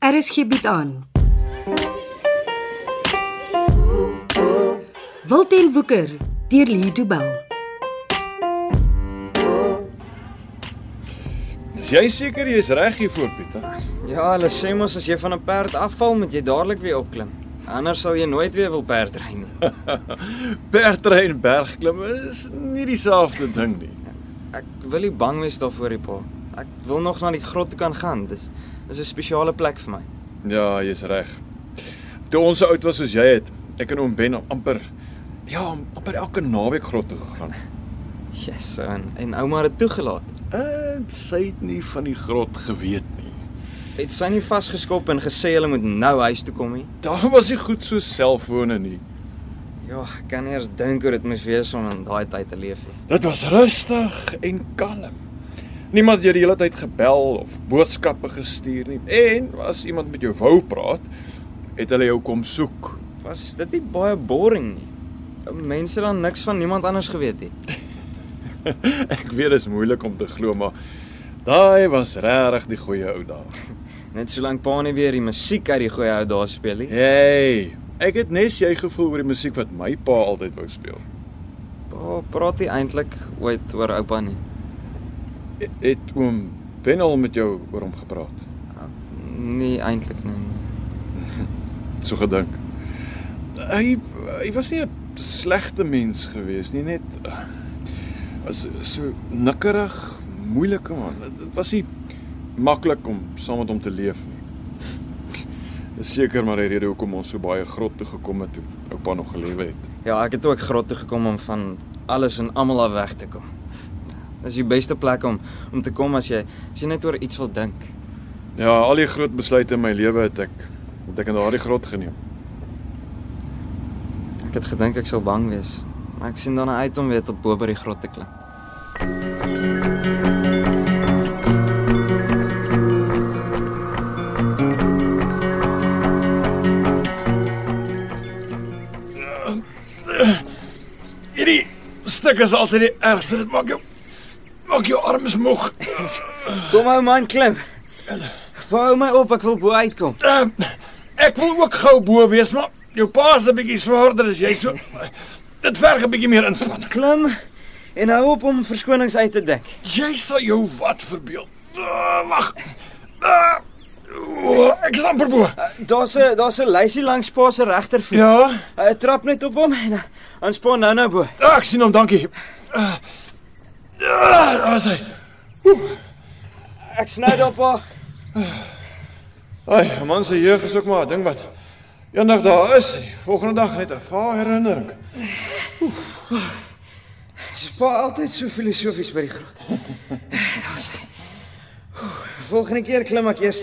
RSG bied Er aan. Wilten Woeker deur Lee Du Bell. Is jy seker jy is reg hiervoor, Pieter? Ja, hulle sê mos as jy van 'n perd afval, moet jy dadelik weer opklim. Anders sal jy nooit weer wil perdry nie. Perdry en bergklim is nie dieselfde ding nie. Ek wil nie bang wees daarvoor nie, pa. Ek wil nog na die grot toe kan gaan. Dis is 'n spesiale plek vir my. Ja, jy's reg. Toe ons so oud was soos jy het, ek en oom Ben amper ja, amper elke naweek grot toe gegaan. Jesus, en, en ouma het dit toegelaat. En Eh, sy het nie van die grot geweet nie. Het sy nie vasgeskop en gesê hulle moet nou huis toe kom nie? Daar was nie goed so selfone nie. Ja, ek kan nie eens dink hoe dit moes wees om in daai tyd te leef nie. Dit was rustig en kalm. Niemand het jou die hele tyd gebel of boodskappe gestuur nie. En as iemand met jou wou praat, het hulle jou kom soek. Was dit nie baie boring nie? Mense dan niks van niemand anders geweet het. Ek weet dit is moeilik om te glo, maar daai was regtig die goeie ou dae. Net solank pa nie weer die musiek uit die goeie ou dae speel nie. Hey, ek het nes jy gevoel oor die musiek wat my pa altyd wou speel. Pa praat nie eintlik ooit oor oupa nie. Het, E-, het oom Ben al met jou oor hom gepraat? Nee, eintlik nie. So gedink. Hy hy was nie 'n slegte mens gewees nie, net eh, was so nikkerig, moeilike man. Dit- Dit was nie maklik om saam met hom te leef nie. Dis seker maar die rede hoekom ons so baie grot toe gekom het toe oupa nog gelewe het. Ja, ek het ook grot toe gekom om van alles en almal af weg te kom. Dis die beste plek om om te kom as jy as jy net oor iets wil dink. Ja, al die groot besluite in my lewe het ek het ek in daardie grot geneem. Ek het gedink ek sal bang wees, maar ek sien dan uit om weer tot bo by die grot te klim. Hierdie stuk is altyd die ergste. Dit maak jou maak jou arms moeg. Kom ou man, klim. Hou my op, ek wil bo uitkom. Uh, ek wil ook gou bo wees, maar jou pa is 'n bietjie swaarder as jy so. Dit verg 'n bietjie meer inspanning. Klim en hou op om verskonings uit te dink. Jy sal jou wat verbeel. Uh, Wag. Uh, o, ek is amper bo. Daar's 'n daar's 'n lysie langs pa se regtervoet. Ja, Hy trap net op hom en dan span nou nou bo. ah, ek sien hom, dankie. Uh, uh, daar is hy. Ek snou daar pa. Ai, man se jeug is ook maar 'n ding wat eendag daar is. Volgende dag net 'n vaar herinnering. Dis pa altyd so filosofies by die grot. Daar's Eh, hy. Oeh, Volgende keer klim ek eers.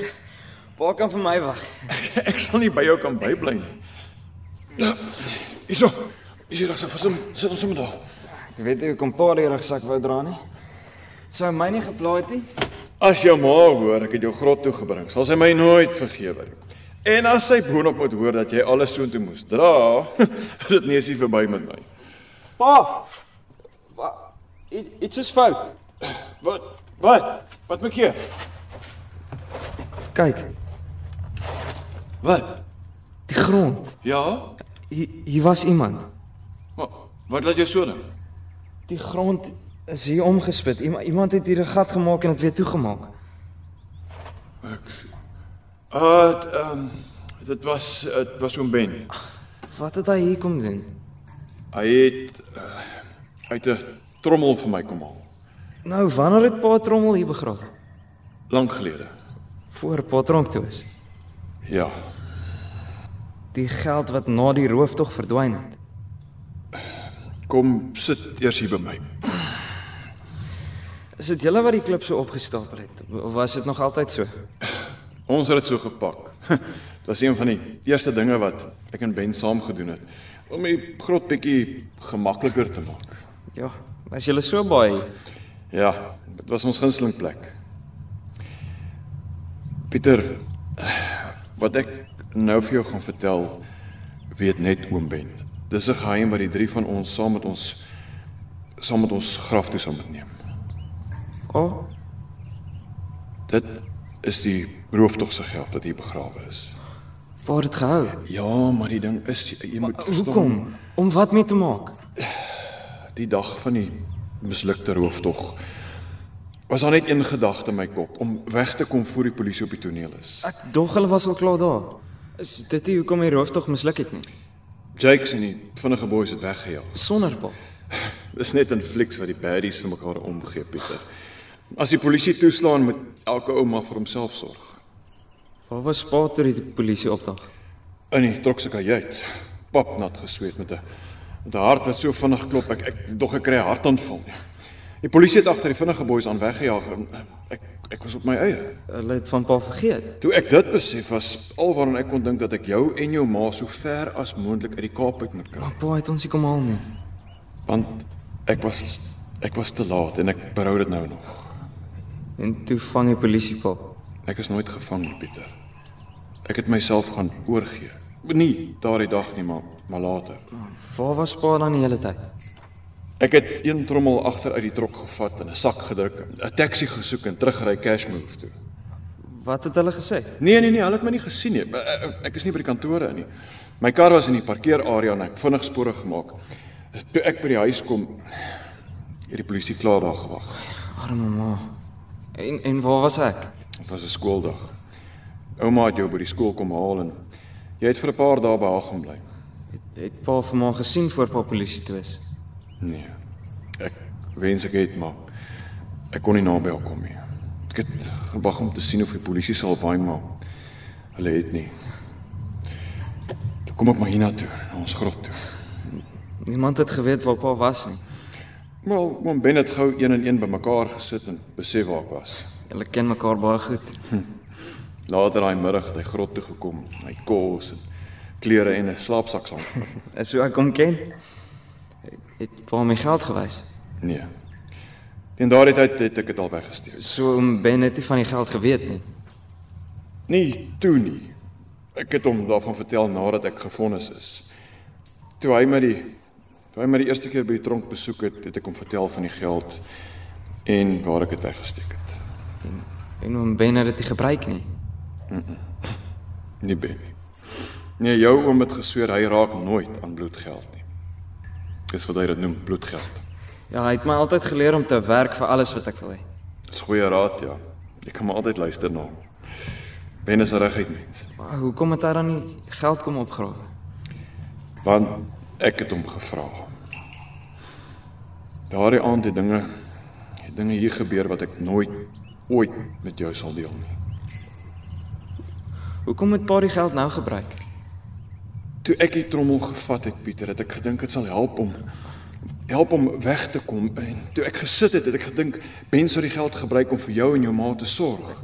Pa kan vir my wag. Ek sal nie by jou kan bybly nie. Ja, Hierso. Is jy reg so vir som sit ons sommer daar. Ek weet jy kom pa die rugsak wou dra nie. Sou my nie geplaai het nie. As jou ma hoor ek het jou grot toe gebring, sal sy my nooit vergewe nie. En as sy boonop moet hoor dat jy alles soontoe moes dra, is dit nie eens hier verby met my. Pa. pa i- Iets is fout. Wat? Wat? Wat maak jy? Kyk, Wat? die grond. Ja. Hier hier was iemand. Maar wat laat jou so nou? ding? Die grond is hier omgespit. Iemand iemand het hier 'n gat gemaak en dit weer toegemaak. Uh, ehm um, dit was dit was oom Ben. Wat het hy hier kom doen? Hy het uh, uit 'n trommel vir my kom haal Nou, wanneer het pa trommel hier begrawe? lank gelede. Voor pa tronk toe is. Ja. Die geld wat na die rooftog verdwyn het. Kom sit eers hier by my. Is dit julle wat die klip so opgestapel het? Of was dit nog altyd so? Ons het dit so gepak. Dit was een van die eerste dinge wat ek en Ben saam gedoen het om die grot bietjie gemakliker te maak. Ja, as julle so baie. Ja, dit was ons gunsteling plek. Pieter, wat ek nou vir jou gaan vertel, weet net oom Ben. Dis 'n geheim wat die drie van ons saam met ons saam met ons graf toe sal moet neem. O, oh, Dit is die rooftog se geld wat hier begrawe is. Pa het dit gehou. Ja, maar die ding is jy moet verstaan, Hoekom? Om wat mee te maak? die dag van die mislukte rooftog was daar net een gedagte in my kop om weg te kom voor die polisie op die toneel is. Ek dog hulle was al klaar daar. Is dit nie hoekom die rooftog misluk het nie? Jakes en die vinnige boeis het weggejaag. Sonder pa. Dis net in flieks wat die baddies vir mekaar omgee, Pieter. As die polisie toeslaan, moet elke ou maar vir homself sorg. Waar was pa toe die polisie opdag? In die trok se kajuit, pap nat gesweet met 'n met 'n hart wat so vinnig klop, ek ek dog ek kry 'n hartaanval. Die polisie het agter die vinnige boeis aan weggejaag en ek ek was op my eie. Hulle het van pa vergeet. Toe ek dit besef was alwaaraan ek kon dink dat ek jou en jou ma so ver as moontlik uit die Kaap uit moet kry. Maar pa het ons nie kom haal nie. Want ek was ek was te laat en ek berou dit nou nog. En toe vang die polisie pa. Ek is nooit gevang nie, Pieter. Ek het myself gaan oorgee. Nie daardie dag nie, maar maar later. Waar was pa dan die hele tyd? Ek het een trommel agter uit die trok gevat en 'n sak gedruk, 'n taxi gesoek en teruggery Cashmove toe. Wat het hulle gesê? Nee, nee, nee, hulle het my nie gesien nie. Eh, Ek- Ek is nie by die kantore in nie. My kar was in die parkeerarea en ek het vinnig spore gemaak. Toe ek by die huis kom, het die polisie klaar daar gewag. Arme ma. En en waar was ek? Dit was 'n skooldag. Ouma het jou by die skool kom haal en jy het vir 'n paar dae by haar gaan bly. Het, het pa vir ma gesien voor pa polisie toe is? Nee. Ek wens ek het maar ek kon nie naby haar kom nie. Ek het gewag om te sien of die polisie sal waai maar hulle het nie. Toe kom ek maar hiernatoe, na ons grot toe. Niemand het geweet waar pa was nie. Wel, oom Ben het gou een en een bymekaar gesit en besef waar ek was. Hulle ken mekaar baie goed. Later daai middag het hy grot toe gekom, hy kos en klere en 'n slaapsak saam. Is so ek hom ken. Het, het pa my geld gewys? Nee. Teen daardie tyd het ek dit al weggesteek. So om Ben het nie van die geld geweet nie. Nee, toe nie. Ek het hom daarvan vertel nadat ek gefonnis is. Toe hy my die toe hy my die eerste keer by die tronk besoek het, het ek hom vertel van die geld en waar ek dit weggesteek het. En om Ben het dit nie gebruik nie. Nie ben nie. Nee, jou oom het gesweer hy raak nooit aan bloedgeld nie. Dis wat hy dit noem, bloedgeld. Ja, hy het my altyd geleer om te werk vir alles wat ek wil hê. Dis goeie raad, ja. Ek kan maar altyd luister na hom. Ben is 'n reguit mens. Maar hoekom het hy dan nie geld kom opgrawe? want ek het hom gevra. Daardie aand het dinge het dinge hier gebeur wat ek nooit ooit met jou sal deel nie. Hoekom het pa die geld nou gebruik? Toe ek die trommel gevat het, Pieter, het ek gedink dit sal help om help om weg te kom en toe ek gesit het, het ek gedink Ben sou die geld gebruik om vir jou en jou ma te sorg.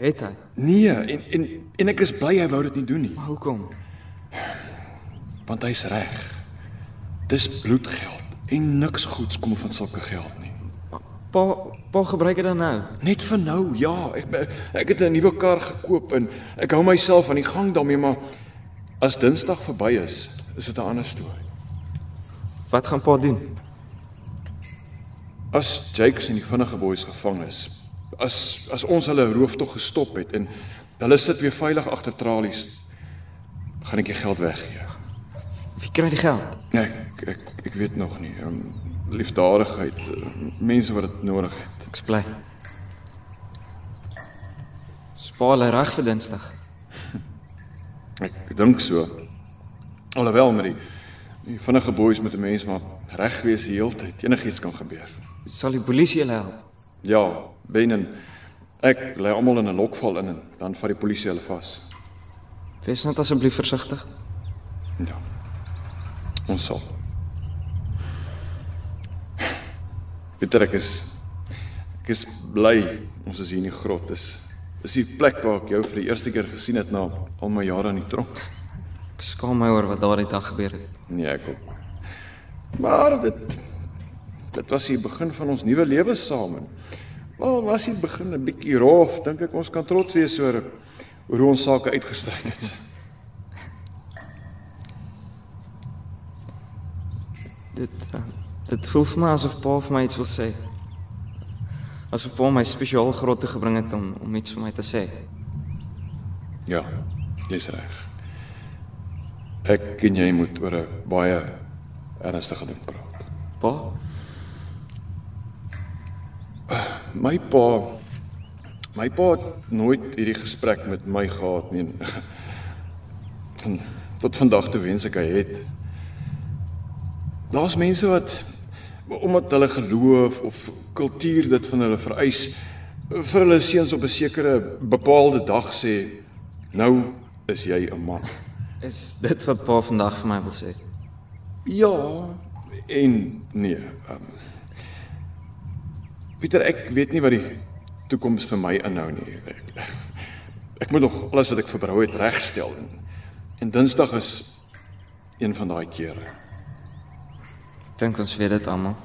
Het hy? Nee, en en en ek is bly hy wou dit nie doen nie, Maar hoekom? want hy's reg. Dis bloedgeld en niks goeds kom van sulke geld nie. Pa pa gebruik dit dan nou. Net vir nou, ja. Ek ek het 'n nuwe kar gekoop en ek hou myself aan die gang daarmee, maar as Dinsdag verby is, is dit 'n ander storie. Wat gaan pa doen? As Jakes en die vinnige boeis gevang is, as as ons hulle rooftog gestop het en hulle sit weer veilig agter tralies, gaan ek die geld weggee. Wie kry die geld? Nee, ek ek ek weet nog nie. Um, liefdadigheid, ehm, mense wat dit nodig het. Ek's bly. Spaal reg vir Dinsdag. Ek dink so. Alhoewel met die, die vinnige boeis met 'n mens maar reg wees die hele tyd. Enigiets kan gebeur. Sal die polisie hulle help? Ja, Ben en ek lê almal in 'n lokval in en dan vat die polisie hulle vas. Wees net asseblief versigtig. Ja. Ons sal. Pieter, ek is ek is bly ons is hier in die grot. Dis is die plek waar ek jou vir die eerste keer gesien het na al my jare in die tronk. Ek skaam my oor wat daardie dag gebeur het. Nee, ek ook. Maar dit dit was die begin van ons nuwe lewe saam. en Wel, was die begin 'n bietjie rof, dink ek ons kan trots wees oor oor hoe ons sake uitgestrek het. Dit eh, dit voel vir my asof pa vir my iets wil sê. Asof Paul my spesiaal groot toe gebring het om om iets vir my te sê. Ja, jy's reg. Ek en jy moet oor 'n baie ernstige ding praat. Pa, My pa my pa het nooit hierdie gesprek met my gehad nie. en Van tot vandag toe wens ek hy het. Daar's mense wat omdat hulle geloof of kultuur dit van hulle vereis vir hulle seuns op 'n sekere bepaalde dag sê nou is jy 'n man. is dit wat pa vandag vir my wil sê? Ja en nee. Um, Pieter, ek weet nie wat die toekoms vir my inhou nie. Ek, ek moet nog alles wat ek verbrou het regstel en en Dinsdag is een van daai kere. Ek dink ons weet dit almal.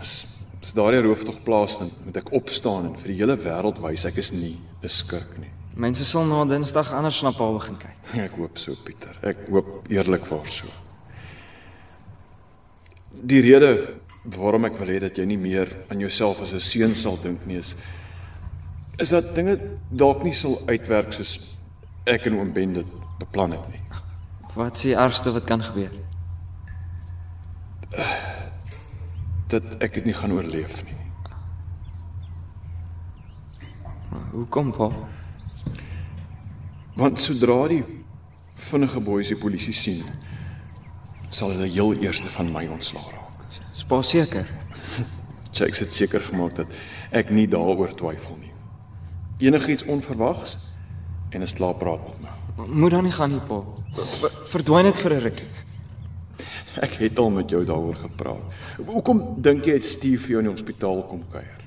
As as daardie rooftog plaasvind, moet ek opstaan en vir die hele wêreld wys ek is nie 'n skurk nie. Mense sal na Dinsdag anders na pa begin kyk. Ek hoop so, Pieter. Ek hoop eerlikwaar so. Die rede waarom ek wil hê dat jy nie meer aan jouself as 'n seun sal dink nie is is dat dinge dalk nie sal uitwerk soos ek en oom Ben dit beplan het nie. Wat is die ergste wat kan gebeur? Dat ek dit nie gaan oorleef nie. Hoekom pa? Want sodra die vinnige boeis die polisie sien, sal hulle heel eerste van my ontslaa raak. Is pa seker? So ek het seker gemaak dat ek nie daaroor twyfel nie. Enigiets onverwags en 'n nou. slaap praat met my. Moet dan nie gaan nie pa. V- Verdwyn dit vir 'n ruk. Ek het al met jou daaroor gepraat. Hoekom dink jy het Steve vir jou in die hospitaal kom kuier?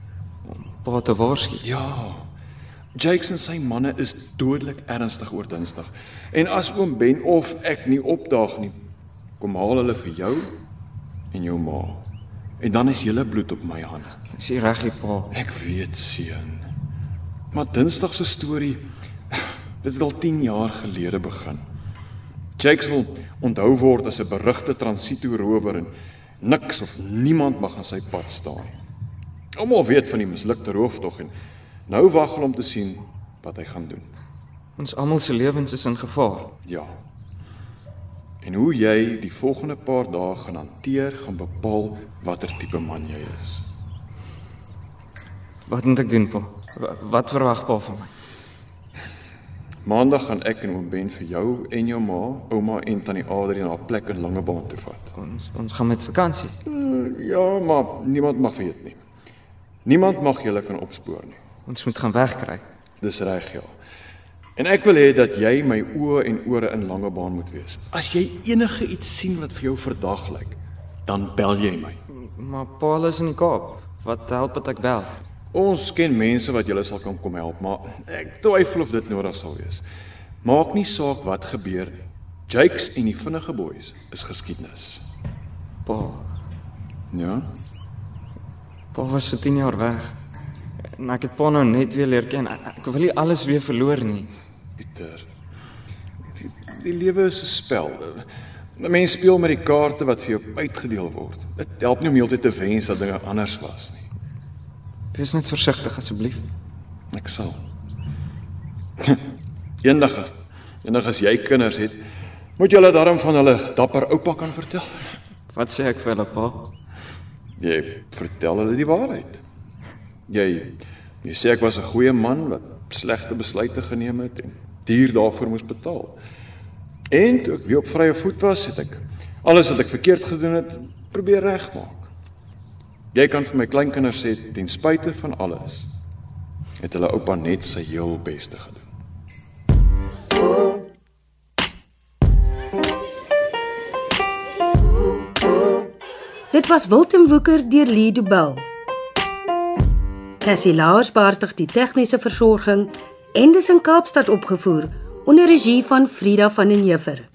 Pa te waarsku. Ja. Jakes en sy manne is dodelik ernstig oor Dinsdag. En as oom Ben of ek nie opdaag nie, kom haal hulle vir jou en jou ma. En dan is julle bloed op my hande. Dis nie reg nie pa. Ek weet seun. Maar Dinsdag se storie dit het al 10 jaar gelede begin. Jakes wil onthou word as 'n berugte transito rower en niks of niemand mag aan sy pad staan nie. Almal weet van die mislukte rooftog en nou wag hulle om te sien wat hy gaan doen. Ons almal se lewens is in gevaar. Ja. En hoe jy die volgende paar dae gaan hanteer, gaan bepaal watter tipe man jy is. Wat moet ek doen pa? Wa- Wat verwag pa van my? Maandag gaan ek en oom Ben vir jou en jou ma, ouma en tannie Adrie na haar plek in Langebaan toe vat. Ons ons gaan met vakansie. Ja, maar niemand mag weet nie. Niemand mag julle kan opspoor nie. Ons moet gaan wegkry. Dis reg, ja. En ek wil hê dat jy my oë en ore in Langebaan moet wees. As jy enige iets sien wat vir jou verdag lyk, dan bel jy my. Maar Paul is in die Kaap. Wat help dit ek bel? Ons ken mense wat julle sal kan kom help, maar ek twyfel of dit nodig sal wees. Maak nie saak wat gebeur nie. Jakes en die vinnige boeis is geskiedenis. Pa, Ja. pa was vir 10 jaar weg. En ek het pa nou net weer leer ken. Ek, ek wil nie alles weer verloor nie. Pieter. Die, die lewe is 'n spel. 'n Mens speel met die kaarte wat vir jou uitgedeel word. Dit help nie om heeltyd te wens dat dinge anders was nie. Wees net versigtig asseblief. Ek sal. Eendag as eendag as jy kinders het, moet jy hulle daarom van hulle dapper oupa kan vertel. Wat sê ek vir hulle pa? Jy vertel hulle die waarheid. Jy jy sê ek was 'n goeie man wat slegte besluite geneem het en duur daarvoor moes betaal. En toe ek weer op vrye voet was, het ek alles wat ek verkeerd gedoen het, probeer regmaak. Jy kan vir my kleinkinders sê ten spyte van alles het hulle oupa net sy heel beste gedoen. Dit was Wilten Woeker deur Lee Du Bell. Cassie Lars beheerdig die tegniese versorging en dis in Kaapstad opgevoer onder regie van Frida van den Heever.